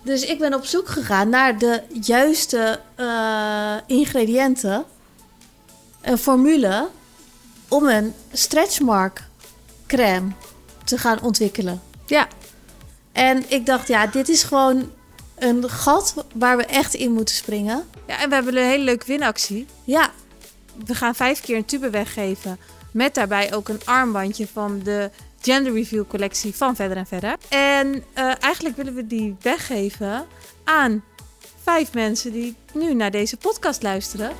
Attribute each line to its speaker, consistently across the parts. Speaker 1: Dus ik ben op zoek gegaan naar de juiste eh, ingrediënten, een formule, om een stretchmark crème te gaan ontwikkelen.
Speaker 2: Ja.
Speaker 1: En ik dacht, ja, dit is gewoon een gat waar we echt in moeten springen.
Speaker 2: ja, en we hebben een hele leuke winactie.
Speaker 1: Ja,
Speaker 2: We gaan vijf keer een tube weggeven. Met daarbij ook een armbandje van de Gender Review collectie van Verder en Verder. En eh, eigenlijk willen we die weggeven aan vijf mensen die nu naar deze podcast luisteren.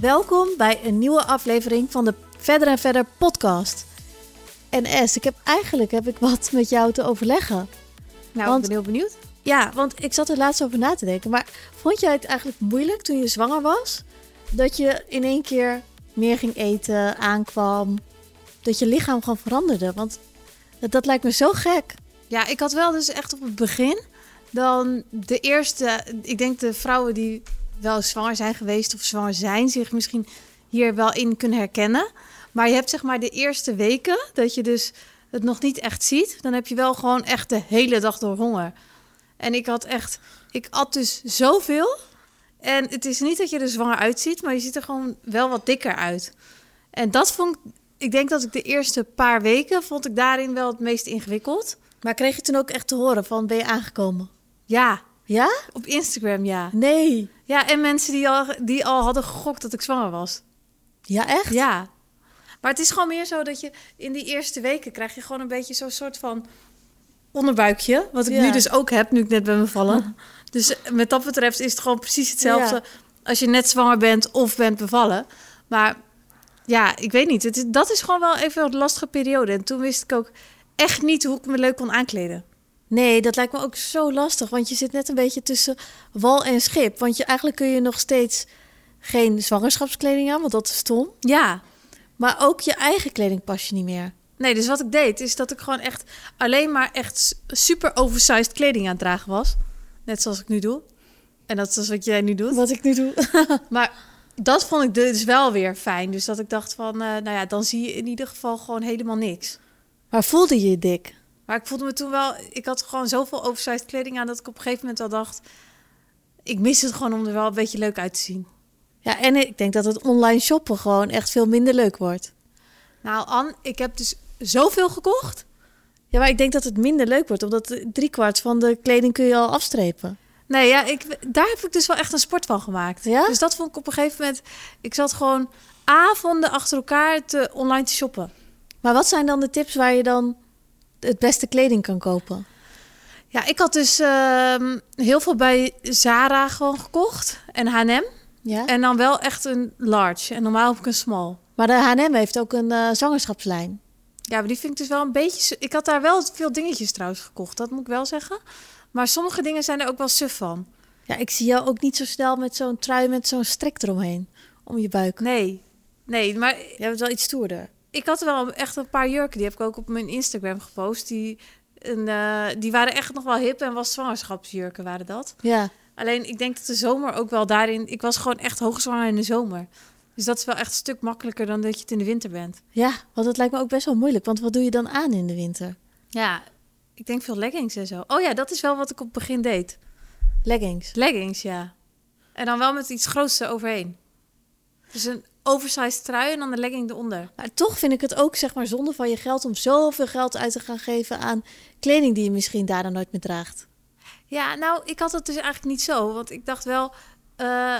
Speaker 1: Welkom bij een nieuwe aflevering van de Verder en Verder podcast. En S, ik heb eigenlijk heb ik wat met jou te overleggen.
Speaker 2: Nou,
Speaker 1: Want-
Speaker 2: ik ben heel benieuwd.
Speaker 1: Ja, want ik zat er laatst over na te denken. Maar vond jij het eigenlijk moeilijk toen je zwanger was? Dat je in één keer meer ging eten, aankwam. Dat je lichaam gewoon veranderde. Want dat, dat lijkt me zo gek.
Speaker 2: Ja, ik had wel dus echt op het begin dan de eerste. Ik denk de vrouwen die wel zwanger zijn geweest of zwanger zijn, zich misschien hier wel in kunnen herkennen. Maar je hebt zeg maar de eerste weken dat je dus het nog niet echt ziet. Dan heb je wel gewoon echt de hele dag door honger. En ik had echt, ik at dus zoveel. En het is niet dat je er zwanger uitziet, maar je ziet er gewoon wel wat dikker uit. En dat vond ik, ik denk dat ik de eerste paar weken vond ik daarin wel het meest ingewikkeld.
Speaker 1: Maar kreeg je toen ook echt te horen van ben je aangekomen?
Speaker 2: Ja,
Speaker 1: Ja?
Speaker 2: op Instagram ja.
Speaker 1: Nee.
Speaker 2: Ja, en mensen die al, die al hadden gegokt dat ik zwanger was.
Speaker 1: Ja, echt?
Speaker 2: Ja. Maar het is gewoon meer zo dat je in die eerste weken krijg je gewoon een beetje zo'n soort van onderbuikje. Wat ik
Speaker 1: Ja.
Speaker 2: nu dus ook heb, nu ik net ben bevallen. dus eh, met dat betreft is het gewoon precies hetzelfde
Speaker 1: Ja.
Speaker 2: als je net zwanger bent of bent bevallen. Maar ja, ik weet niet. Het is, dat is gewoon wel even een lastige periode. En toen wist ik ook echt niet hoe ik me leuk kon aankleden.
Speaker 1: Nee, dat lijkt me ook zo lastig. Want je zit net een beetje tussen wal en schip. Want je, eigenlijk kun je nog steeds geen zwangerschapskleding aan, want dat is stom.
Speaker 2: Ja,
Speaker 1: Maar ook je eigen kleding pas je niet meer.
Speaker 2: Nee, dus wat ik deed is dat ik gewoon echt alleen maar echt s- super oversized kleding aan het dragen was. Net zoals ik nu doe. En dat is dus wat jij nu doet.
Speaker 1: Wat ik nu doe.
Speaker 2: Maar dat vond ik dus wel weer fijn. Dus dat ik dacht van, eh, nou ja, dan zie je in ieder geval gewoon helemaal niks.
Speaker 1: Maar voelde je je dik?
Speaker 2: Maar ik voelde me toen wel, ik had gewoon zoveel oversized kleding aan dat ik op een gegeven moment al dacht, ik mis het gewoon om er wel een beetje leuk uit te zien.
Speaker 1: Ja, en ik denk dat het online shoppen gewoon echt veel minder leuk wordt.
Speaker 2: Nou, Ann, ik heb dus zoveel gekocht.
Speaker 1: Ja, maar ik denk dat het minder leuk wordt, omdat driekwart van de kleding kun je al afstrepen.
Speaker 2: Nee, ja, ik, daar heb ik dus wel echt een sport van gemaakt.
Speaker 1: Ja?
Speaker 2: Dus dat vond ik op een gegeven moment... Ik zat gewoon avonden achter elkaar te, online te shoppen.
Speaker 1: Maar wat zijn dan de tips waar je dan het beste kleding kan kopen?
Speaker 2: Ja, ik had dus ehm, heel veel bij Zara gewoon gekocht. En H&M.
Speaker 1: Ja?
Speaker 2: En dan wel echt een large. En normaal heb ik een small.
Speaker 1: Maar de H&M heeft ook een eh, zwangerschapslijn.
Speaker 2: Ja, maar die vind ik dus wel een beetje... su- Ik had daar wel veel dingetjes trouwens gekocht. Dat moet ik wel zeggen. Maar sommige dingen zijn er ook wel suf van.
Speaker 1: Ja, ik zie jou ook niet zo snel met zo'n trui met zo'n strik eromheen. Om je buik.
Speaker 2: Nee. Nee, maar
Speaker 1: Jij bent wel iets stoerder.
Speaker 2: Ik had wel echt een paar jurken, die heb ik ook op mijn Instagram gepost. Die, een, eh, die waren echt nog wel hip en was zwangerschapsjurken waren dat.
Speaker 1: Ja.
Speaker 2: Alleen ik denk dat de zomer ook wel daarin... Ik was gewoon echt hoogzwanger in de zomer. Dus dat is wel echt een stuk makkelijker dan dat je het in de winter bent.
Speaker 1: Ja, want dat lijkt me ook best wel moeilijk. Want wat doe je dan aan in de winter?
Speaker 2: Ja, ik denk veel leggings en zo. Oh ja, dat is wel wat ik op het begin deed.
Speaker 1: Leggings.
Speaker 2: Leggings, ja. En dan wel met iets groots overheen. Dus een oversized trui en dan de legging eronder.
Speaker 1: Maar toch vind ik het ook zeg maar zonde van je geld om zoveel geld uit te gaan geven aan kleding die je misschien daarna nooit meer draagt.
Speaker 2: Ja, nou, ik had het dus eigenlijk niet zo. Want ik dacht wel, eh,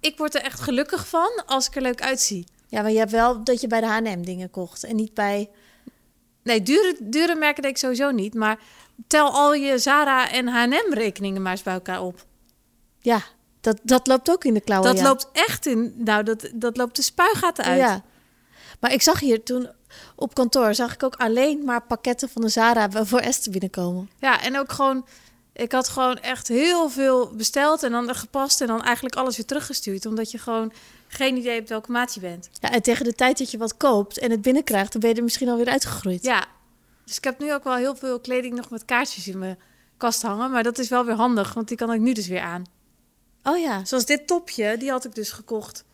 Speaker 2: ik word er echt gelukkig van als ik er leuk uitzie.
Speaker 1: Ja, maar je hebt wel dat je bij de H&M dingen kocht en niet bij...
Speaker 2: Nee, dure, dure merken deed ik sowieso niet. Maar tel al je Zara en H&M rekeningen maar eens bij elkaar op.
Speaker 1: Ja, dat, dat loopt ook in de klauwen.
Speaker 2: dat
Speaker 1: Oh, ja.
Speaker 2: loopt echt in, nou, dat, dat loopt de spuigaten uit.
Speaker 1: Ja. Maar ik zag hier toen op kantoor, zag ik ook alleen maar pakketten van de Zara voor Esther binnenkomen.
Speaker 2: Ja, en ook gewoon, ik had gewoon echt heel veel besteld en dan gepast en dan eigenlijk alles weer teruggestuurd. Omdat je gewoon geen idee hebt welke maat je bent.
Speaker 1: Ja, en tegen de tijd dat je wat koopt en het binnenkrijgt, dan ben je er misschien alweer uitgegroeid.
Speaker 2: Ja, dus ik heb nu ook wel heel veel kleding nog met kaartjes in mijn kast hangen. Maar dat is wel weer handig, want die kan ik nu dus weer aan.
Speaker 1: Oh ja.
Speaker 2: Zoals dit topje, die had ik dus gekocht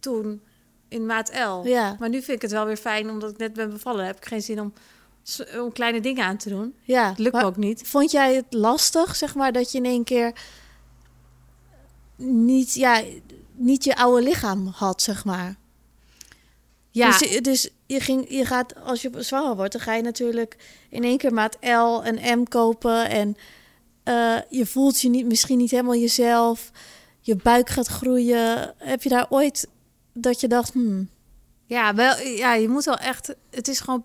Speaker 2: toen in maat L.
Speaker 1: Ja.
Speaker 2: Maar nu vind ik het wel weer fijn, omdat ik net ben bevallen. Heb ik geen zin om s- om kleine dingen aan te doen.
Speaker 1: Ja,
Speaker 2: Dat lukt
Speaker 1: maar
Speaker 2: me ook niet.
Speaker 1: Vond jij het lastig, zeg maar, dat je in één keer niet, ja, niet je oude lichaam had, zeg maar?
Speaker 2: Ja,
Speaker 1: Dus, dus je, ging, je gaat, als je zwanger wordt, dan ga je natuurlijk in één keer maat L en M kopen. En eh, je voelt je niet, misschien niet helemaal jezelf. Je buik gaat groeien. Heb je daar ooit dat je dacht, hmm,
Speaker 2: ja, wel, ja, je moet wel echt... Het is gewoon...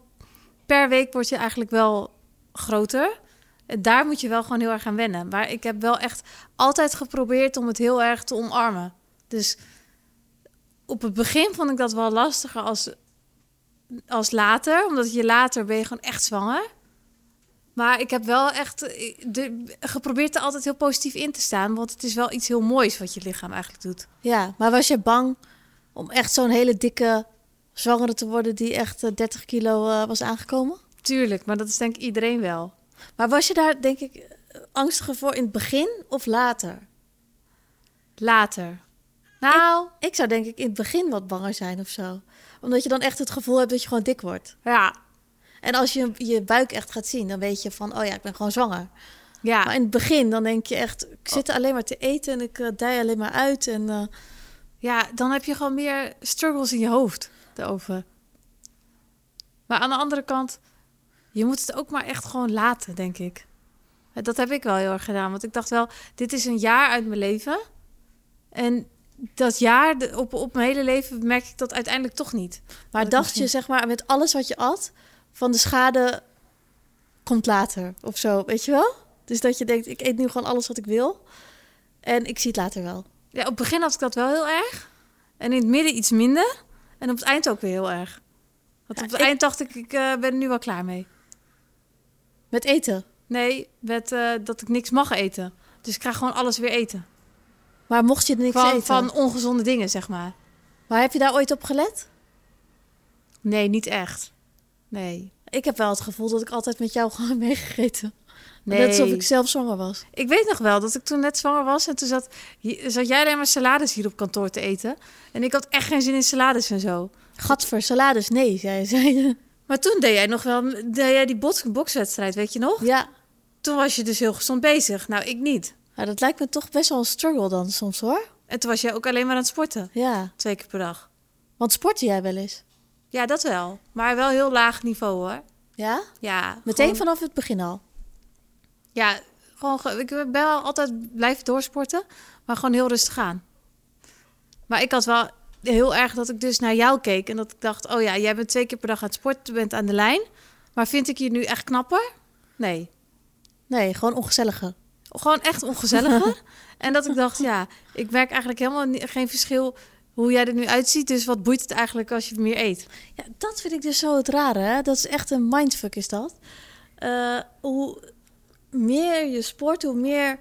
Speaker 2: Per week word je eigenlijk wel groter. En Daar moet je wel gewoon heel erg aan wennen. Maar ik heb wel echt altijd geprobeerd om het heel erg te omarmen. Dus op het begin vond ik dat wel lastiger als, als later. Omdat je later ben je gewoon echt zwanger. Maar ik heb wel echt eh, de, geprobeerd er altijd heel positief in te staan. Want het is wel iets heel moois wat je lichaam eigenlijk doet.
Speaker 1: ja. Maar was je bang om echt zo'n hele dikke zwangere te worden die echt eh, 30 kilo eh, was aangekomen?
Speaker 2: Tuurlijk, maar dat is denk ik iedereen wel.
Speaker 1: Maar was je daar, denk ik, eh, angstiger voor in het begin of later?
Speaker 2: Later. Nou,
Speaker 1: Ik zou denk ik in het begin wat banger zijn of zo. Omdat je dan echt het gevoel hebt dat je gewoon dik wordt.
Speaker 2: ja.
Speaker 1: En als je je buik echt gaat zien, dan weet je van, oh ja, ik ben gewoon zwanger. Maar
Speaker 2: Ja,
Speaker 1: in het begin, dan denk je echt, ik zit alleen maar te eten en ik eh, dij alleen maar uit. En eh,
Speaker 2: ja, dan heb je gewoon meer struggles in je hoofd erover. Maar aan de andere kant, je moet het ook maar echt gewoon laten, denk ik. Eh, Dat heb ik wel heel erg gedaan. Want ik dacht wel, dit is een jaar uit mijn leven. En dat jaar, de- op, op mijn hele leven, merk ik dat uiteindelijk toch niet.
Speaker 1: maar
Speaker 2: ik
Speaker 1: dacht
Speaker 2: misschien-
Speaker 1: je, zeg maar, met alles wat je at, van de schade komt later of zo, weet je wel? Dus dat je denkt, ik eet nu gewoon alles wat ik wil. En ik zie het later wel.
Speaker 2: Ja, op het begin had ik dat wel heel erg. En in het midden iets minder. En op het eind ook weer heel erg. Want
Speaker 1: Ja,
Speaker 2: op het
Speaker 1: ik-
Speaker 2: eind dacht ik, ik eh, ben er nu wel klaar mee.
Speaker 1: Met eten.
Speaker 2: Nee, met, eh, dat ik niks mag eten. Dus ik ga gewoon alles weer eten.
Speaker 1: Maar mocht je niks
Speaker 2: Van,
Speaker 1: eten?
Speaker 2: van ongezonde dingen, zeg maar.
Speaker 1: Maar heb je daar ooit op gelet?
Speaker 2: Nee, niet echt. Nee.
Speaker 1: Ik heb wel het gevoel dat ik altijd met jou gewoon meegegeten.
Speaker 2: nee.
Speaker 1: Net alsof ik zelf zwanger was.
Speaker 2: Ik weet nog wel dat ik toen net zwanger was en toen zat, hi- zat jij alleen maar salades hier op kantoor te eten. En ik had echt geen zin in salades en zo.
Speaker 1: Gadver, salades, nee, zei, zei je.
Speaker 2: Maar toen deed jij nog wel deed jij die bots- bokswedstrijd, weet je nog?
Speaker 1: Ja,
Speaker 2: Toen was je dus heel gezond bezig. Nou, ik niet.
Speaker 1: maar dat lijkt me toch best wel een struggle dan soms hoor.
Speaker 2: En toen was jij ook alleen maar aan het sporten.
Speaker 1: Ja,
Speaker 2: Twee keer per dag.
Speaker 1: want sportte jij wel eens?
Speaker 2: Ja, dat wel. Maar wel heel laag niveau hoor.
Speaker 1: Ja?
Speaker 2: Ja.
Speaker 1: Meteen
Speaker 2: gewoon-
Speaker 1: vanaf het begin al.
Speaker 2: Ja, gewoon. ge- Ik ben wel altijd blijven doorsporten. Maar gewoon heel rustig aan. Maar ik had wel heel erg dat ik dus naar jou keek. En dat ik dacht: oh ja, jij bent twee keer per dag aan het sporten. Je bent aan de lijn. Maar vind ik je nu echt knapper? Nee.
Speaker 1: Nee, gewoon ongezellige.
Speaker 2: Gewoon echt ongezelliger. en dat ik dacht: ja, ik merk eigenlijk helemaal ni- geen verschil hoe jij er nu uitziet. Dus wat boeit het eigenlijk als je meer eet?
Speaker 1: Ja, dat vind ik dus zo het rare. Hè? Dat is echt een mindfuck, is dat. Eh, hoe meer je sport, hoe meer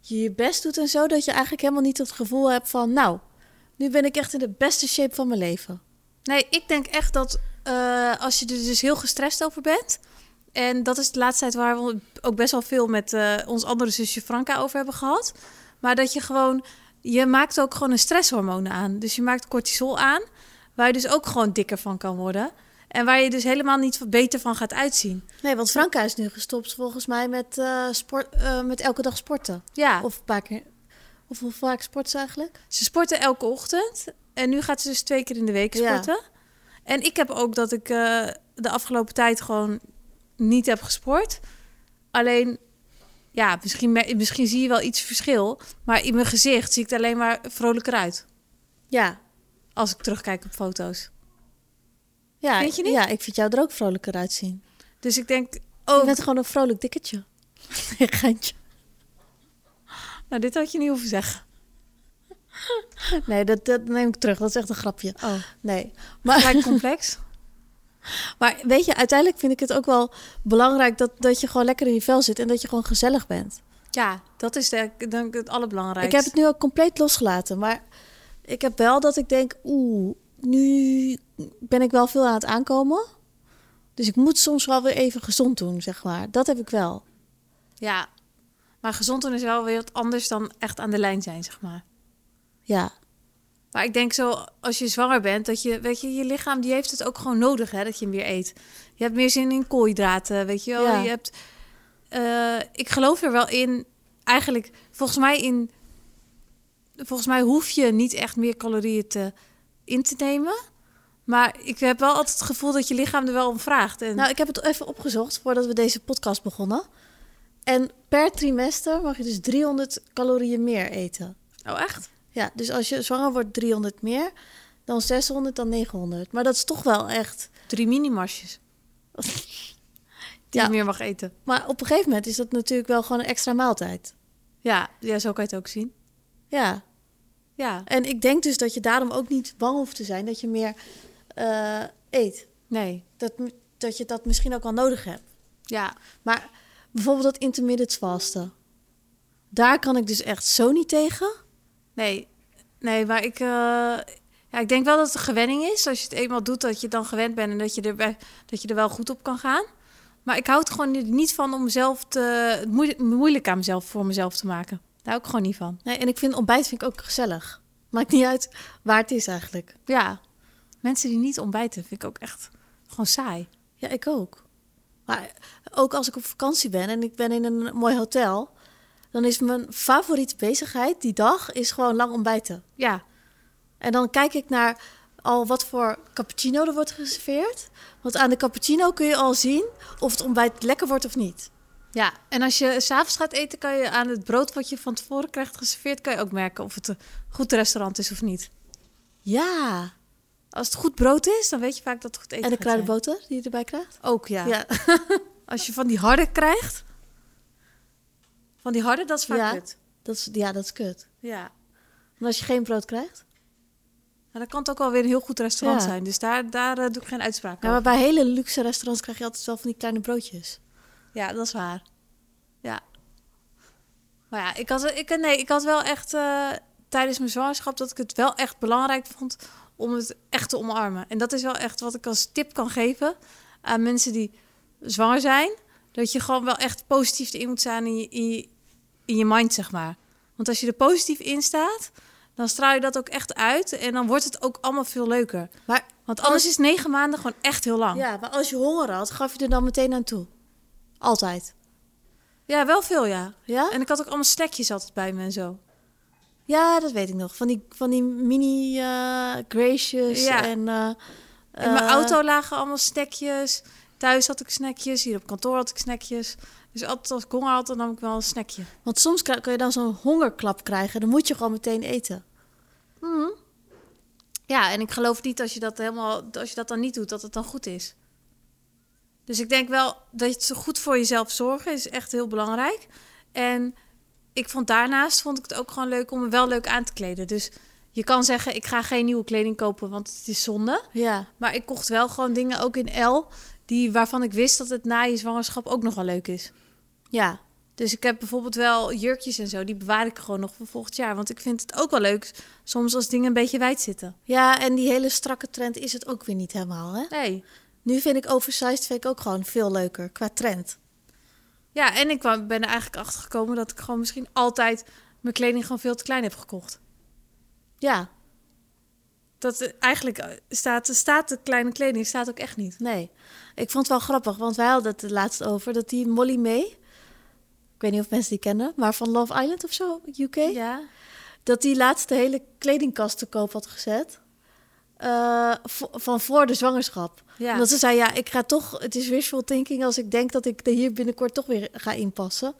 Speaker 1: je je best doet en zo, dat je eigenlijk helemaal niet het gevoel hebt van, nou, nu ben ik echt in de beste shape van mijn leven.
Speaker 2: Nee, ik denk echt dat eh, als je er dus heel gestrest over bent. En dat is de laatste tijd waar we ook best wel veel met eh, ons andere zusje Franka over hebben gehad. Maar dat je gewoon, je maakt ook gewoon een stresshormoon aan. Dus je maakt cortisol aan, waar je dus ook gewoon dikker van kan worden. En waar je dus helemaal niet beter van gaat uitzien.
Speaker 1: Nee, want Franka is nu gestopt volgens mij met, eh, sport, eh, met elke dag sporten.
Speaker 2: Ja,
Speaker 1: Of een paar keer. Of hoe vaak sport ze eigenlijk?
Speaker 2: ze sporten elke ochtend. En nu gaat ze dus twee keer in de week
Speaker 1: Ja.
Speaker 2: sporten. En ik heb ook dat ik eh, de afgelopen tijd gewoon niet heb gesport. Alleen, ja, misschien, me- misschien zie je wel iets verschil. Maar in mijn gezicht zie ik er alleen maar vrolijker uit.
Speaker 1: Ja.
Speaker 2: Als ik terugkijk op foto's.
Speaker 1: ja.
Speaker 2: Vind je niet?
Speaker 1: Ja, ik vind jou er ook vrolijker uitzien.
Speaker 2: Dus ik denk,
Speaker 1: Je
Speaker 2: oh,
Speaker 1: bent gewoon een vrolijk dikketje. Nee, geintje.
Speaker 2: nou dit had je niet hoeven zeggen.
Speaker 1: Nee, dat, dat neem ik terug. Dat is echt een grapje.
Speaker 2: Oh,
Speaker 1: Nee.
Speaker 2: gelijk complex.
Speaker 1: Maar weet je, uiteindelijk vind ik het ook wel belangrijk dat, dat je gewoon lekker in je vel zit en dat je gewoon gezellig bent.
Speaker 2: Ja, dat is denk ik denk het allerbelangrijkste.
Speaker 1: Ik heb het nu ook compleet losgelaten, maar ik heb wel dat ik denk, oeh, nu ben ik wel veel aan het aankomen. Dus ik moet soms wel weer even gezond doen, zeg maar. Dat heb ik wel.
Speaker 2: Ja, maar gezond doen is wel weer wat anders dan echt aan de lijn zijn, zeg maar.
Speaker 1: Ja.
Speaker 2: Maar ik denk zo, als je zwanger bent, dat je, weet je, je lichaam die heeft het ook gewoon nodig, hè, dat je meer eet. Je hebt meer zin in koolhydraten, weet je wel.
Speaker 1: Ja.
Speaker 2: Je hebt, eh, ik geloof er wel in, eigenlijk, volgens mij in, volgens mij hoef je niet echt meer calorieën te, in te nemen. Maar ik heb wel altijd het gevoel dat je lichaam er wel om vraagt. En,
Speaker 1: Nou, ik heb het even opgezocht voordat we deze podcast begonnen. En per trimester mag je dus 300 calorieën meer eten.
Speaker 2: oh, echt?
Speaker 1: Ja, dus als je zwanger wordt 300 meer, dan 600, dan 900. Maar dat is toch wel echt...
Speaker 2: Drie mini-marsjes die
Speaker 1: Ja.
Speaker 2: je meer mag eten.
Speaker 1: Maar op een gegeven moment is dat natuurlijk wel gewoon een extra maaltijd.
Speaker 2: Ja, ja, zo kan je het ook zien.
Speaker 1: Ja,
Speaker 2: Ja,
Speaker 1: en ik denk dus dat je daarom ook niet bang hoeft te zijn dat je meer eh, eet.
Speaker 2: nee.
Speaker 1: Dat, dat je dat misschien ook al nodig hebt.
Speaker 2: Ja,
Speaker 1: Maar bijvoorbeeld dat intermittent vasten. Daar kan ik dus echt zo niet tegen.
Speaker 2: nee. Nee, maar ik, eh, ja, ik denk wel dat het een gewenning is. Als je het eenmaal doet, dat je het dan gewend bent en dat je, er, bij- dat je er wel goed op kan gaan. Maar ik houd er gewoon niet van om mezelf te, het moe- moeilijk aan mezelf voor mezelf te maken. Daar hou ik gewoon niet van.
Speaker 1: Nee, en ik vind ontbijt vind ik ook gezellig. Maakt niet uit waar het is eigenlijk.
Speaker 2: Ja, mensen die niet ontbijten vind ik ook echt gewoon saai.
Speaker 1: Ja, ik ook. Maar ook als ik op vakantie ben en ik ben in een mooi hotel, dan is mijn favoriete bezigheid die dag is gewoon lang ontbijten.
Speaker 2: Ja,
Speaker 1: En dan kijk ik naar al wat voor cappuccino er wordt geserveerd. Want aan de cappuccino kun je al zien of het ontbijt lekker wordt of niet.
Speaker 2: ja. En als je s'avonds gaat eten, kan je aan het brood wat je van tevoren krijgt geserveerd, kan je ook merken of het een goed restaurant is of niet.
Speaker 1: Ja.
Speaker 2: Als het goed brood is, dan weet je vaak dat het goed eten
Speaker 1: En de
Speaker 2: gaat zijn.
Speaker 1: kruidenboter die je erbij krijgt?
Speaker 2: Ook, ja. Als je van die harde krijgt. Van die harde, dat is vaak
Speaker 1: Ja.
Speaker 2: kut.
Speaker 1: Dat is, ja, dat is kut.
Speaker 2: Ja.
Speaker 1: En als je geen brood krijgt?
Speaker 2: Maar dan kan het ook wel weer een heel goed restaurant
Speaker 1: Ja.
Speaker 2: zijn. Dus daar, daar eh, doe ik geen uitspraak
Speaker 1: Ja,
Speaker 2: over.
Speaker 1: maar bij hele luxe restaurants krijg je altijd wel van die kleine broodjes.
Speaker 2: Ja, dat is waar. Ja. Maar ja, ik had, ik, nee, ik had wel echt eh, tijdens mijn zwangerschap dat ik het wel echt belangrijk vond om het echt te omarmen. En dat is wel echt wat ik als tip kan geven aan mensen die zwanger zijn. Dat je gewoon wel echt positief erin moet staan in je, in je, in je mind, zeg maar. Want als je er positief in staat, dan straal je dat ook echt uit. En dan wordt het ook allemaal veel leuker.
Speaker 1: Maar,
Speaker 2: Want anders is negen maanden gewoon echt heel lang. Ja,
Speaker 1: ja, maar als je honger had, gaf je er dan meteen aan toe. Altijd.
Speaker 2: wel veel, ja.
Speaker 1: Ja?
Speaker 2: En ik had ook allemaal snackjes altijd bij me en zo.
Speaker 1: Ja, dat weet ik nog. Van die, van die mini eh gracious
Speaker 2: Ja.
Speaker 1: en... eh,
Speaker 2: In mijn
Speaker 1: eh,
Speaker 2: auto lagen allemaal snackjes. Thuis had ik snackjes. Hier op kantoor had ik snackjes. Dus altijd als ik honger had, dan nam ik wel een snackje.
Speaker 1: Want soms kri- kun je dan zo'n hongerklap krijgen. Dan moet je gewoon meteen eten.
Speaker 2: Ja, en ik geloof niet als je dat helemaal, als je dat dan niet doet, dat het dan goed is. Dus ik denk wel dat je zo goed voor jezelf zorgen is echt heel belangrijk. En ik vond daarnaast vond ik het ook gewoon leuk om me wel leuk aan te kleden. Dus je kan zeggen, ik ga geen nieuwe kleding kopen, want het is zonde.
Speaker 1: Ja.
Speaker 2: Maar ik kocht wel gewoon dingen ook in L, die, waarvan ik wist dat het na je zwangerschap ook nog wel leuk is.
Speaker 1: Ja.
Speaker 2: Dus ik heb bijvoorbeeld wel jurkjes en zo, die bewaar ik gewoon nog voor volgend jaar. Want ik vind het ook wel leuk soms als dingen een beetje wijd zitten.
Speaker 1: Ja, en die hele strakke trend is het ook weer niet helemaal, hè?
Speaker 2: Nee.
Speaker 1: Nu vind ik oversized vind ik ook gewoon veel leuker qua trend.
Speaker 2: Ja, en ik kwam, ben er eigenlijk achter gekomen dat ik gewoon misschien altijd mijn kleding gewoon veel te klein heb gekocht.
Speaker 1: Ja,
Speaker 2: Dat eh, eigenlijk eh, staat, staat de kleine kleding staat ook echt niet.
Speaker 1: nee. Ik vond het wel grappig, want wij hadden het er laatst over dat die Molly May... Ik weet niet of mensen die kennen, maar van Love Island of zo, UK.
Speaker 2: Ja.
Speaker 1: Dat die laatst de hele kledingkast te koop had gezet. eh, vo- van voor de zwangerschap.
Speaker 2: Ja.
Speaker 1: Omdat ze zei, ja, ik ga toch... Het is wishful thinking als ik denk dat ik er hier binnenkort toch weer ga inpassen.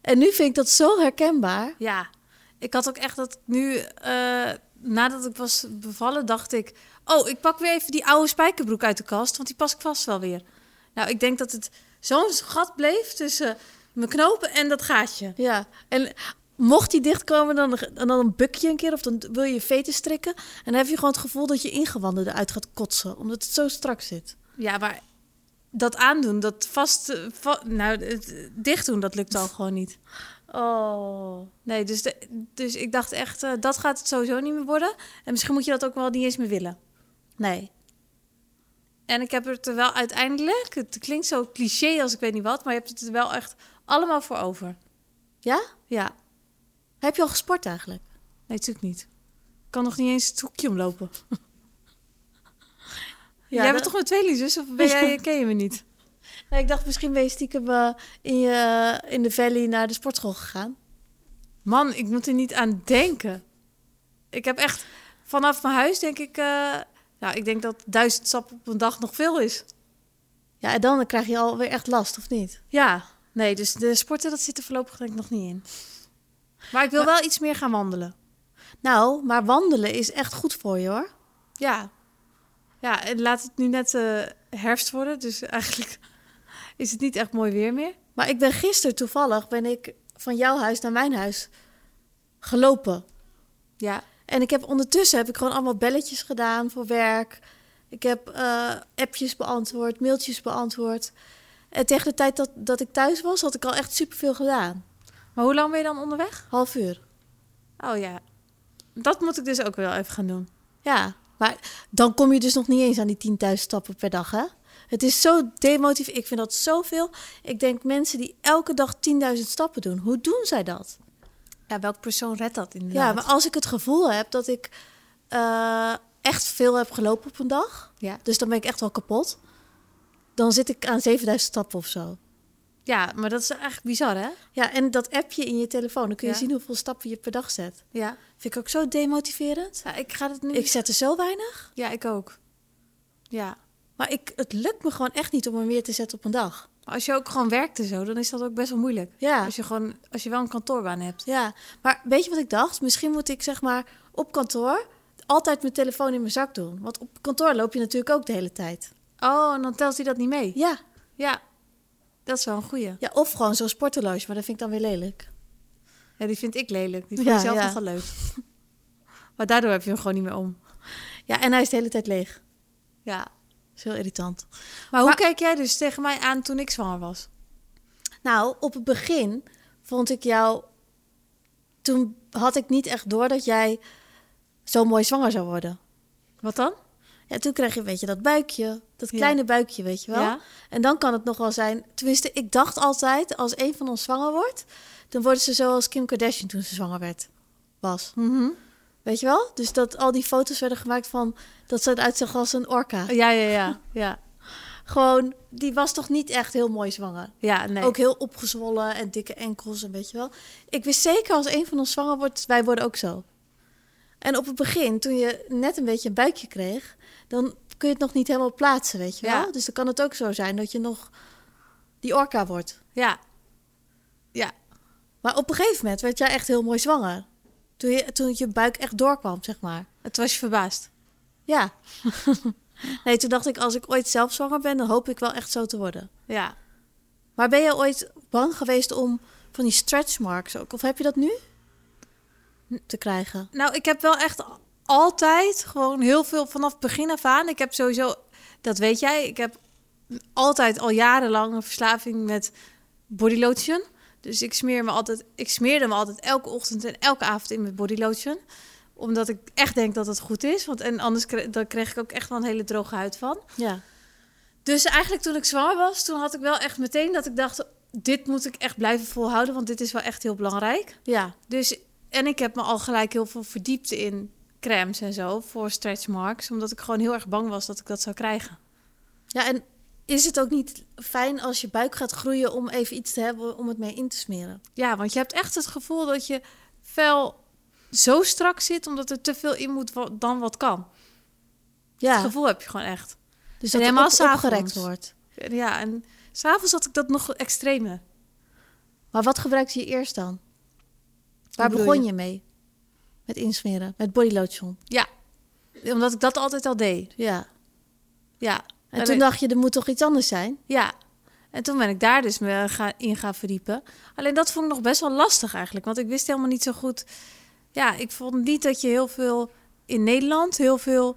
Speaker 1: En nu vind ik dat zo herkenbaar.
Speaker 2: Ja, ik had ook echt dat ik nu, eh, nadat ik was bevallen, dacht ik... Oh, ik pak weer even die oude spijkerbroek uit de kast, want die pas ik vast wel weer. Nou, ik denk dat het zo'n gat bleef tussen mijn knopen en dat gaatje.
Speaker 1: Ja, en mocht die dichtkomen, dan, en dan een bukje een keer... of dan wil je je veten strikken... en dan heb je gewoon het gevoel dat je ingewanden eruit gaat kotsen... omdat het zo strak zit.
Speaker 2: Ja, maar dat aandoen, dat vast... eh, va- nou, het eh, dicht doen, dat lukt al gewoon niet.
Speaker 1: Oh.
Speaker 2: Nee, dus, de- dus ik dacht echt, eh, dat gaat het sowieso niet meer worden. En misschien moet je dat ook wel niet eens meer willen.
Speaker 1: Nee.
Speaker 2: En ik heb het er wel uiteindelijk... Het klinkt zo cliché als ik weet niet wat... maar je hebt het er wel echt allemaal voor over.
Speaker 1: Ja?
Speaker 2: Ja,
Speaker 1: Heb je al gesport eigenlijk?
Speaker 2: nee, natuurlijk niet. kan nog niet eens het hoekje omlopen.
Speaker 1: Ja,
Speaker 2: jij
Speaker 1: dat-
Speaker 2: bent toch mijn tweeling zus of ben jij, ken je me niet?
Speaker 1: nou, Nee, ik dacht, misschien ben je stiekem eh, in, je, in de valley naar de sportschool gegaan.
Speaker 2: Man, ik moet er niet aan denken. Ik heb echt vanaf mijn huis denk ik, eh, nou ik denk dat duizend stappen op een dag nog veel is.
Speaker 1: Ja, en dan krijg je alweer echt last, of niet?
Speaker 2: Ja, nee, dus de sporten dat zit er voorlopig denk ik nog niet in. Maar ik wil wel iets meer gaan wandelen.
Speaker 1: Nou, maar wandelen is echt goed voor je, hoor.
Speaker 2: Ja. Ja, en laat het nu net eh, herfst worden, dus eigenlijk is het niet echt mooi weer meer.
Speaker 1: Maar ik ben gisteren toevallig ben ik van jouw huis naar mijn huis gelopen.
Speaker 2: Ja.
Speaker 1: En ik heb ondertussen heb ik gewoon allemaal belletjes gedaan voor werk. Ik heb eh, appjes beantwoord, mailtjes beantwoord. En tegen de tijd dat, dat ik thuis was, had ik al echt superveel gedaan.
Speaker 2: Maar hoe lang ben je dan onderweg?
Speaker 1: Half uur.
Speaker 2: Oh ja. Dat moet ik dus ook wel even gaan doen.
Speaker 1: Ja, maar dan kom je dus nog niet eens aan die 10.000 stappen per dag, hè? Het is zo demotief. Ik vind dat zoveel. Ik denk mensen die elke dag 10.000 stappen doen, hoe doen zij dat?
Speaker 2: Ja, welk persoon redt dat inderdaad?
Speaker 1: Ja, maar als ik het gevoel heb dat ik eh, echt veel heb gelopen op een dag,
Speaker 2: ja.
Speaker 1: dus dan ben ik echt wel kapot, dan zit ik aan 7000 stappen of zo.
Speaker 2: ja, maar dat is eigenlijk bizar, hè?
Speaker 1: Ja, en dat appje in je telefoon, dan kun je
Speaker 2: Ja.
Speaker 1: zien hoeveel stappen je per dag zet.
Speaker 2: Ja.
Speaker 1: Vind ik ook zo demotiverend.
Speaker 2: ik ga het nu...
Speaker 1: Ik zet er zo weinig,
Speaker 2: Ja, ik ook. Ja.
Speaker 1: maar ik, het lukt me gewoon echt niet om er meer te zetten op een dag.
Speaker 2: Maar als je ook gewoon werkt en zo, dan is dat ook best wel moeilijk.
Speaker 1: Ja.
Speaker 2: Als je gewoon, als je wel een kantoorbaan hebt.
Speaker 1: Ja, maar weet je wat ik dacht? Misschien moet ik zeg maar op kantoor altijd mijn telefoon in mijn zak doen. Want op kantoor loop je natuurlijk ook de hele tijd.
Speaker 2: Oh, en dan telt hij dat niet mee.
Speaker 1: Ja,
Speaker 2: Ja. Dat is wel een goeie.
Speaker 1: ja of gewoon zo'n sporthorloge, maar dat vind ik dan weer lelijk.
Speaker 2: Ja, die vind ik lelijk. Die
Speaker 1: Ja,
Speaker 2: vind ik zelf
Speaker 1: ja.
Speaker 2: nogal leuk. maar daardoor heb je hem gewoon niet meer om.
Speaker 1: Ja, en hij is de hele tijd leeg.
Speaker 2: Ja.
Speaker 1: Dat is heel irritant.
Speaker 2: Maar hoe
Speaker 1: Maar-
Speaker 2: kijk jij dus tegen mij aan toen ik zwanger was?
Speaker 1: Nou, op het begin vond ik jou... Toen had ik niet echt door dat jij zo mooi zwanger zou worden.
Speaker 2: Wat dan?
Speaker 1: Ja, toen kreeg je een beetje dat buikje. Dat
Speaker 2: Ja.
Speaker 1: kleine buikje, weet je wel.
Speaker 2: Ja.
Speaker 1: En dan kan het nog wel zijn... Tenminste, ik dacht altijd, als een van ons zwanger wordt... dan worden ze zoals Kim Kardashian toen ze zwanger werd. Was.
Speaker 2: Mhm.
Speaker 1: Weet je wel? Dus dat al die foto's werden gemaakt van... dat ze eruit zag als een orka.
Speaker 2: Ja, ja, ja. Ja,
Speaker 1: Gewoon, die was toch niet echt heel mooi zwanger?
Speaker 2: ja nee.
Speaker 1: Ook heel opgezwollen en dikke enkels en weet je wel. Ik wist zeker als een van ons zwanger wordt, wij worden ook zo. En op het begin, toen je net een beetje een buikje kreeg, dan kun je het nog niet helemaal plaatsen, weet je
Speaker 2: Ja.
Speaker 1: wel. Dus dan kan het ook zo zijn dat je nog die orka wordt.
Speaker 2: Ja. Ja.
Speaker 1: Maar op een gegeven moment werd jij echt heel mooi zwanger. Toen je, toen je buik echt doorkwam, zeg maar.
Speaker 2: Het was je verbaasd.
Speaker 1: Ja. nee, toen dacht ik, als ik ooit zelf zwanger ben, dan hoop ik wel echt zo te worden.
Speaker 2: Ja.
Speaker 1: Maar ben je ooit bang geweest om van die stretch marks ook? Of heb je dat nu? Te krijgen.
Speaker 2: Nou, ik heb wel echt altijd gewoon heel veel vanaf begin af aan. Ik heb sowieso, dat weet jij, ik heb altijd al jarenlang een verslaving met body lotion. Dus ik, smeer me altijd, ik smeerde me altijd elke ochtend en elke avond in met body lotion. Omdat ik echt denk dat het goed is. Want en anders kre- dan kreeg ik ook echt wel een hele droge huid van.
Speaker 1: Ja.
Speaker 2: Dus eigenlijk toen ik zwanger was, toen had ik wel echt meteen dat ik dacht... dit moet ik echt blijven volhouden, want dit is wel echt heel belangrijk.
Speaker 1: Ja.
Speaker 2: Dus, en ik heb me al gelijk heel veel verdiept in crèmes en zo voor stretch marks. Omdat ik gewoon heel erg bang was dat ik dat zou krijgen.
Speaker 1: Ja, en is het ook niet fijn als je buik gaat groeien om even iets te hebben om het mee in te smeren?
Speaker 2: Ja, want je hebt echt het gevoel dat je vel zo strak zit... omdat er te veel in moet wa- dan wat kan. Dat
Speaker 1: Ja.
Speaker 2: gevoel heb je gewoon echt.
Speaker 1: Dus
Speaker 2: En
Speaker 1: dat het
Speaker 2: helemaal
Speaker 1: op,
Speaker 2: s'avonds.
Speaker 1: opgerekt wordt.
Speaker 2: En Ja, en s'avonds had ik dat nog extremer.
Speaker 1: Maar wat gebruikte je eerst dan? Waar
Speaker 2: bedoel
Speaker 1: begon
Speaker 2: je?
Speaker 1: je? mee? Met insmeren, met body lotion.
Speaker 2: Ja, omdat ik dat altijd al deed.
Speaker 1: Ja.
Speaker 2: Ja.
Speaker 1: En
Speaker 2: Alleen-
Speaker 1: toen dacht je, er moet toch iets anders zijn?
Speaker 2: Ja, en toen ben ik daar dus me gaan, in gaan verdiepen. Alleen dat vond ik nog best wel lastig eigenlijk, want ik wist helemaal niet zo goed. Ja, ik vond niet dat je heel veel in Nederland heel veel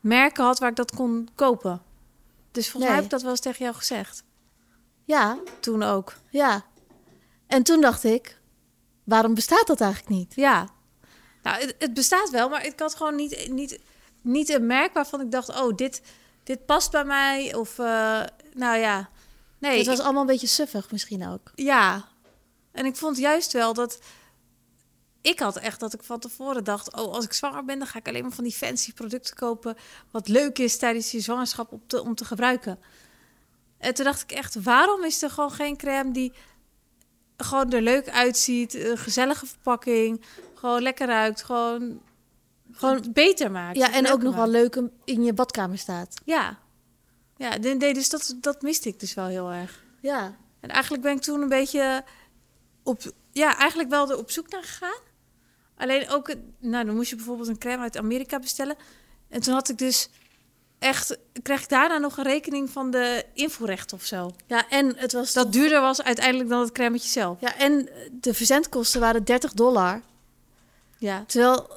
Speaker 2: merken had waar ik dat kon kopen. Dus volgens
Speaker 1: Nee.
Speaker 2: mij heb ik dat wel eens tegen jou gezegd.
Speaker 1: Ja,
Speaker 2: Toen ook.
Speaker 1: ja. En toen dacht ik, waarom bestaat dat eigenlijk niet?
Speaker 2: Ja. Nou, het, het bestaat wel, maar ik had gewoon niet, niet, niet een merk waarvan ik dacht: oh, dit, dit past bij mij. Of, eh, nou ja. Nee,
Speaker 1: het
Speaker 2: ik-
Speaker 1: was allemaal een beetje suffig misschien ook.
Speaker 2: Ja. En ik vond juist wel dat Ik had echt dat ik van tevoren dacht: oh, als ik zwanger ben, dan ga ik alleen maar van die fancy producten kopen. Wat leuk is tijdens je zwangerschap op te, om te gebruiken. En toen dacht ik echt: waarom is er gewoon geen crème die gewoon er leuk uitziet? Een gezellige verpakking, gewoon lekker ruikt, gewoon, gewoon beter maakt.
Speaker 1: Ja, en
Speaker 2: Leuker
Speaker 1: ook nog wel
Speaker 2: maakt.
Speaker 1: leuk in- in je badkamer staat.
Speaker 2: Ja. Ja, nee, nee, dus dat, dat miste ik dus wel heel erg.
Speaker 1: Ja.
Speaker 2: En eigenlijk ben ik toen een beetje op, ja, eigenlijk wel er op zoek naar gegaan. Alleen ook, het- nou, dan moest je bijvoorbeeld een crème uit Amerika bestellen. En toen had ik dus echt, kreeg ik daarna nog een rekening van de invoerrecht of zo.
Speaker 1: Ja, en het was
Speaker 2: Dat duurder was uiteindelijk dan het crèmetje zelf.
Speaker 1: Ja, en de verzendkosten waren 30 dollar.
Speaker 2: Ja,
Speaker 1: Terwijl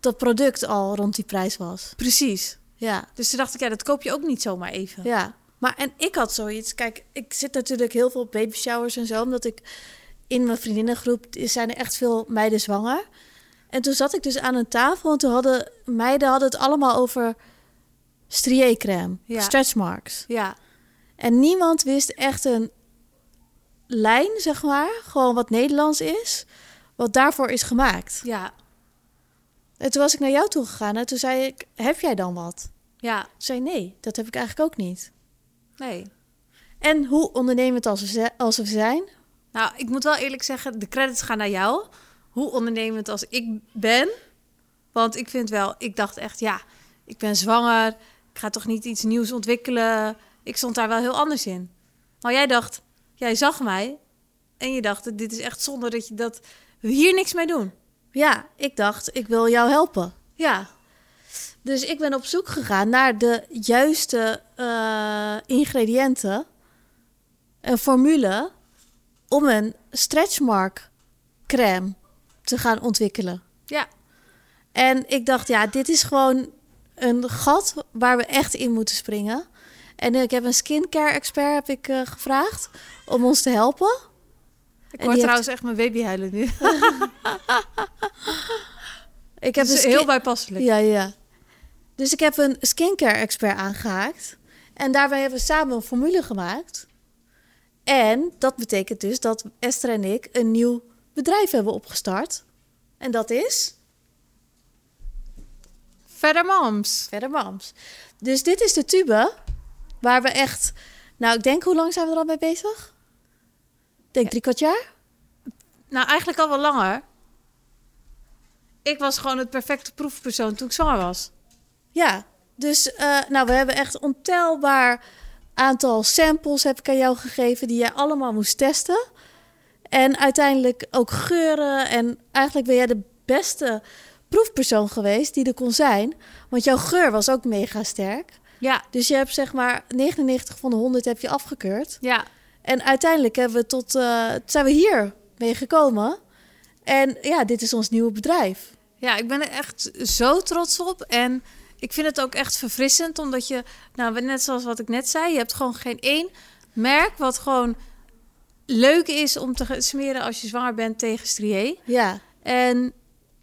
Speaker 1: dat product al rond die prijs was.
Speaker 2: precies.
Speaker 1: Ja,
Speaker 2: Dus toen dacht ik, ja, dat koop je ook niet zomaar even.
Speaker 1: ja. Maar en ik had zoiets. Kijk, ik zit natuurlijk heel veel op baby showers en zo. Omdat ik in mijn vriendinnengroep zijn er echt veel meiden zwanger. En toen zat ik dus aan een tafel. En toen hadden meiden hadden het allemaal over striécrème,
Speaker 2: Ja.
Speaker 1: stretch marks.
Speaker 2: Ja,
Speaker 1: En niemand wist echt een lijn, zeg maar. Gewoon wat Nederlands is. Wat daarvoor is gemaakt.
Speaker 2: ja,
Speaker 1: En toen was ik naar jou toe gegaan en toen zei ik: Heb jij dan wat? Toen
Speaker 2: ja.
Speaker 1: zei je, Nee, dat heb ik eigenlijk ook niet.
Speaker 2: Nee.
Speaker 1: En hoe ondernemend als we, ze- als we zijn.
Speaker 2: Nou, ik moet wel eerlijk zeggen, de credits gaan naar jou. Hoe ondernemend als ik ben. Want ik vind wel, ik dacht echt, ja, ik ben zwanger. Ik ga toch niet iets nieuws ontwikkelen. Ik stond daar wel heel anders in. Maar jij dacht, jij zag mij. En je dacht, dit is echt zonde dat, je, dat we hier niks mee doen.
Speaker 1: Ja, ik dacht: Ik wil jou helpen.
Speaker 2: Ja,
Speaker 1: Dus ik ben op zoek gegaan naar de juiste eh, ingrediënten, een formule om een stretchmark crème te gaan ontwikkelen.
Speaker 2: ja,
Speaker 1: En ik dacht, ja, dit is gewoon een gat waar we echt in moeten springen. En ik heb een skincare expert heb ik, eh, gevraagd om ons te helpen.
Speaker 2: ik
Speaker 1: die
Speaker 2: hoor
Speaker 1: heeft-
Speaker 2: trouwens echt mijn baby huilen nu.
Speaker 1: Ik
Speaker 2: Dat
Speaker 1: heb
Speaker 2: is
Speaker 1: een skin-
Speaker 2: heel bijpasselijk.
Speaker 1: Ja, ja. Dus ik heb een skincare expert aangehaakt. En daarbij hebben we samen een formule gemaakt. En dat betekent dus dat Esther en ik een nieuw bedrijf hebben opgestart. En dat is
Speaker 2: Verder moms.
Speaker 1: Verder Mams. Dus dit is de tube waar we echt... Nou, ik denk, hoe lang zijn we er al mee bezig? Ik denk drie kwart jaar.
Speaker 2: Nou, eigenlijk al wel langer. Ik was gewoon het perfecte proefpersoon toen ik zwanger was.
Speaker 1: Ja, dus eh, nou, we hebben echt ontelbaar aantal samples heb ik aan jou gegeven die jij allemaal moest testen. En uiteindelijk ook geuren. En eigenlijk ben jij de beste proefpersoon geweest die er kon zijn. Want jouw geur was ook mega sterk.
Speaker 2: Ja,
Speaker 1: Dus je hebt zeg maar 99 van de 100 heb je afgekeurd.
Speaker 2: ja,
Speaker 1: En uiteindelijk hebben we tot, eh, zijn we hier mee gekomen. En ja, dit is ons nieuwe bedrijf.
Speaker 2: ja, ik ben er echt zo trots op. En ik vind het ook echt verfrissend, omdat je, nou, net zoals wat ik net zei, je hebt gewoon geen één merk wat gewoon leuk is om te smeren als je zwanger bent tegen strié.
Speaker 1: Ja,
Speaker 2: En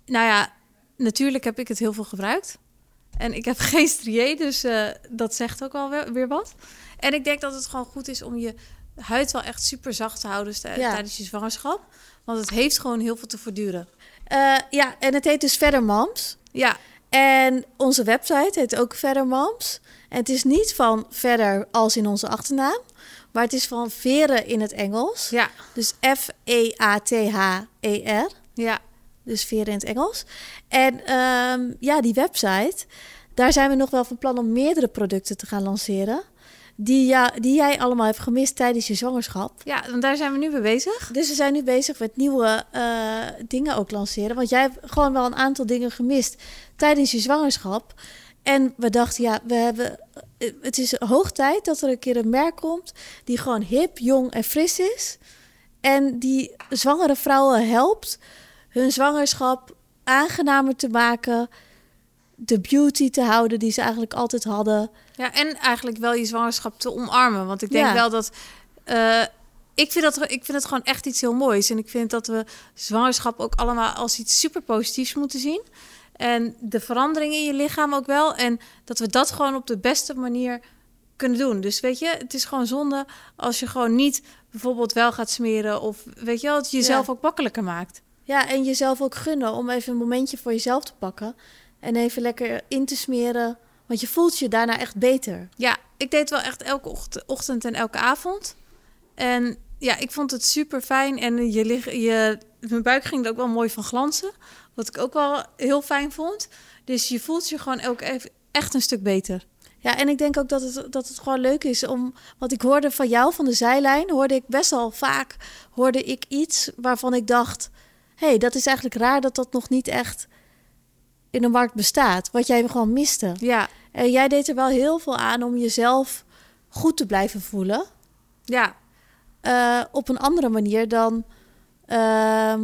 Speaker 2: nou ja, natuurlijk heb ik het heel veel gebruikt. En ik heb geen strié, dus eh, dat zegt ook wel weer, weer wat. En ik denk dat het gewoon goed is om je huid wel echt super zacht te houden sta-
Speaker 1: Ja.
Speaker 2: tijdens je zwangerschap. Want het heeft gewoon heel veel te verduren.
Speaker 1: Eh, ja en het heet dus Verder Mams.
Speaker 2: Ja,
Speaker 1: En onze website heet ook Verder Mams. En het is niet van verder als in onze achternaam, maar het is van veren in het Engels.
Speaker 2: ja,
Speaker 1: Dus F-E-A-T-H-E-R.
Speaker 2: ja.
Speaker 1: Dus veren in het Engels. En ehm, ja, die website, daar zijn we nog wel van plan om meerdere producten te gaan lanceren. Die, ja, die jij allemaal hebt gemist tijdens je zwangerschap.
Speaker 2: Ja, want daar zijn we nu mee bezig.
Speaker 1: Dus we zijn nu bezig met nieuwe eh, dingen ook lanceren. Want jij hebt gewoon wel een aantal dingen gemist tijdens je zwangerschap. En we dachten, ja, we hebben, eh, het is hoog tijd dat er een keer een merk komt die gewoon hip, jong en fris is. En die zwangere vrouwen helpt hun zwangerschap aangenamer te maken. De beauty te houden die ze eigenlijk altijd hadden.
Speaker 2: Ja, en eigenlijk wel je zwangerschap te omarmen. Want ik denk
Speaker 1: Ja.
Speaker 2: wel dat. eh, ik, vind dat ik vind het gewoon echt iets heel moois. En ik vind dat we zwangerschap ook allemaal als iets super positiefs moeten zien. En de verandering in je lichaam ook wel. En dat we dat gewoon op de beste manier kunnen doen. Dus weet je, het is gewoon zonde als je gewoon niet bijvoorbeeld wel gaat smeren. Of weet je wel, het jezelf ook makkelijker maakt.
Speaker 1: Ja, en jezelf ook gunnen om even een momentje voor jezelf te pakken. En even lekker in te smeren. Want je voelt je daarna echt beter.
Speaker 2: Ja, ik deed wel echt elke ocht- ochtend en elke avond. En ja, ik vond het super fijn. En je lig, je, mijn buik ging er ook wel mooi van glanzen. Wat ik ook wel heel fijn vond. Dus je voelt je gewoon ook even echt een stuk beter.
Speaker 1: Ja, en ik denk ook dat het, dat het gewoon leuk is om. Want ik hoorde van jou van de zijlijn, hoorde ik best wel vaak hoorde ik iets waarvan ik dacht. hé, hey, dat is eigenlijk raar dat dat nog niet echt in de markt bestaat. Wat jij gewoon miste.
Speaker 2: Ja,
Speaker 1: En jij deed er wel heel veel aan om jezelf goed te blijven voelen.
Speaker 2: ja,
Speaker 1: eh, op een andere manier dan ehm,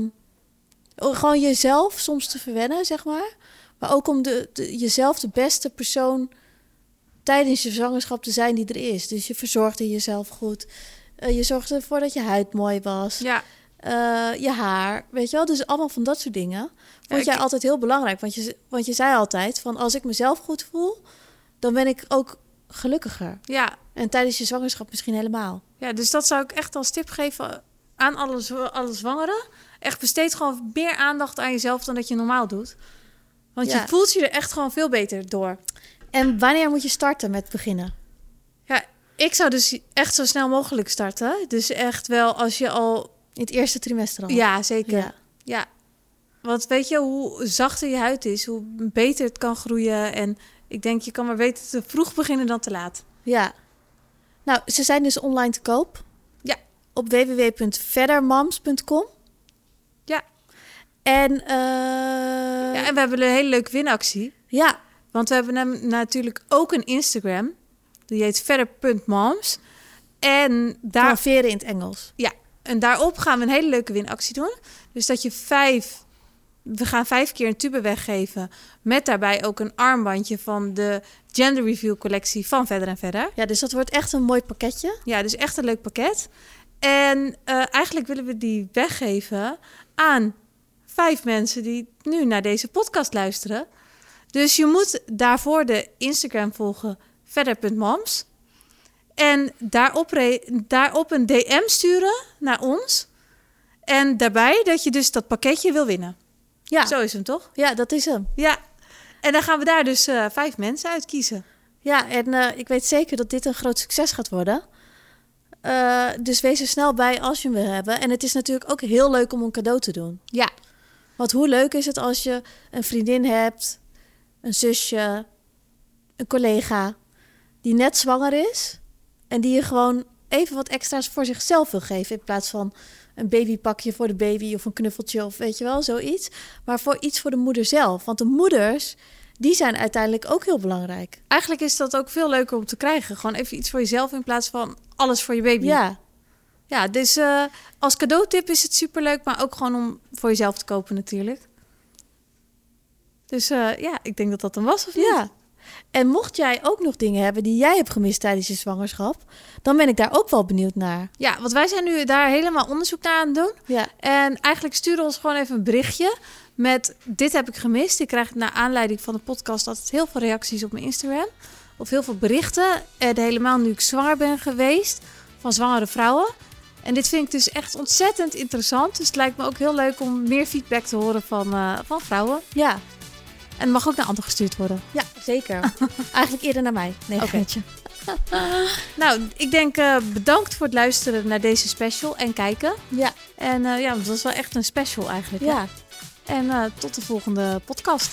Speaker 1: gewoon jezelf soms te verwennen, zeg maar. Maar ook om de, de- jezelf de beste persoon tijdens je zwangerschap te zijn die er is. Dus je verzorgde jezelf goed. Eh, je zorgde ervoor dat je huid mooi was.
Speaker 2: ja.
Speaker 1: Eh, je haar, weet je wel? Dus allemaal van dat soort dingen.
Speaker 2: Ja,
Speaker 1: Vond
Speaker 2: ik-
Speaker 1: jij altijd heel belangrijk. Want je, want je zei altijd van als ik mezelf goed voel, dan ben ik ook gelukkiger.
Speaker 2: ja.
Speaker 1: En tijdens je zwangerschap misschien helemaal.
Speaker 2: Ja, dus dat zou ik echt als tip geven aan alle, zw- alle zwangeren. Echt besteed gewoon meer aandacht aan jezelf dan dat je normaal doet. Want
Speaker 1: Ja.
Speaker 2: je voelt je er echt gewoon veel beter door.
Speaker 1: En wanneer moet je starten met beginnen?
Speaker 2: Ik zou dus echt zo snel mogelijk starten. Dus echt wel als je al...
Speaker 1: In het eerste trimester al?
Speaker 2: Ja, zeker. Ja.
Speaker 1: Ja.
Speaker 2: Want weet je, hoe zachter je huid is, hoe beter het kan groeien. En ik denk, je kan maar beter te vroeg beginnen dan te laat.
Speaker 1: Ja. Nou, ze zijn dus online te koop.
Speaker 2: Ja.
Speaker 1: Op www.verdermams.com.
Speaker 2: Ja.
Speaker 1: En,
Speaker 2: Ja,
Speaker 1: ja,
Speaker 2: en we hebben een hele leuke winactie.
Speaker 1: ja,
Speaker 2: Want we hebben nam- natuurlijk ook een Instagram. Die heet verder.moms. En,
Speaker 1: van
Speaker 2: daar,
Speaker 1: veren in het Engels.
Speaker 2: en daarop gaan we een hele leuke winactie doen. Dus dat je vijf... We gaan vijf keer een tube weggeven. Met daarbij ook een armbandje van de Gender Review collectie van Verder en Verder.
Speaker 1: Ja, dus dat wordt echt een mooi pakketje.
Speaker 2: Ja, dus echt een leuk pakket. En eh, eigenlijk willen we die weggeven aan vijf mensen die nu naar deze podcast luisteren. Dus je moet daarvoor de Instagram volgen, verder.moms. En daarop, re- daarop een DM sturen naar ons. En daarbij dat je dus dat pakketje wil winnen.
Speaker 1: Ja,
Speaker 2: Zo is hem toch?
Speaker 1: ja dat is hem.
Speaker 2: Ja. En dan gaan we daar dus eh, vijf mensen uit kiezen.
Speaker 1: Ja, en eh, ik weet zeker dat dit een groot succes gaat worden. Eh, dus wees er snel bij als je hem wil hebben. En het is natuurlijk ook heel leuk om een cadeau te doen.
Speaker 2: Ja.
Speaker 1: Want hoe leuk is het als je een vriendin hebt, een zusje, een collega die net zwanger is en die je gewoon even wat extra's voor zichzelf wil geven in plaats van een babypakje voor de baby of een knuffeltje of weet je wel, zoiets. Maar voor iets voor de moeder zelf. Want de moeders, die zijn uiteindelijk ook heel belangrijk.
Speaker 2: Eigenlijk is dat ook veel leuker om te krijgen. Gewoon even iets voor jezelf in plaats van alles voor je baby.
Speaker 1: Ja,
Speaker 2: Ja, dus eh, als cadeautip is het superleuk, maar ook gewoon om voor jezelf te kopen natuurlijk. Dus eh, ja, ik denk dat dat hem was, of niet?
Speaker 1: ja. En mocht jij ook nog dingen hebben die jij hebt gemist tijdens je zwangerschap, dan ben ik daar ook wel benieuwd naar.
Speaker 2: Ja, want wij zijn nu daar helemaal onderzoek naar aan het doen.
Speaker 1: Ja,
Speaker 2: En eigenlijk stuur ons gewoon even een berichtje met dit heb ik gemist. Ik krijg naar aanleiding van de podcast altijd heel veel reacties op mijn Instagram. Of heel veel berichten. En helemaal nu ik zwanger ben geweest van zwangere vrouwen. En dit vind ik dus echt ontzettend interessant. Dus het lijkt me ook heel leuk om meer feedback te horen van, eh, van vrouwen.
Speaker 1: ja.
Speaker 2: En het mag ook naar anderen gestuurd worden.
Speaker 1: Ja, zeker. Eigenlijk eerder naar mij. Nee,
Speaker 2: Oké.
Speaker 1: geintje.
Speaker 2: Nou, ik denk eh, bedankt voor het luisteren naar deze special en kijken.
Speaker 1: Ja,
Speaker 2: En eh, ja, want het was wel echt een special eigenlijk. hè?
Speaker 1: ja.
Speaker 2: En eh, tot de volgende podcast.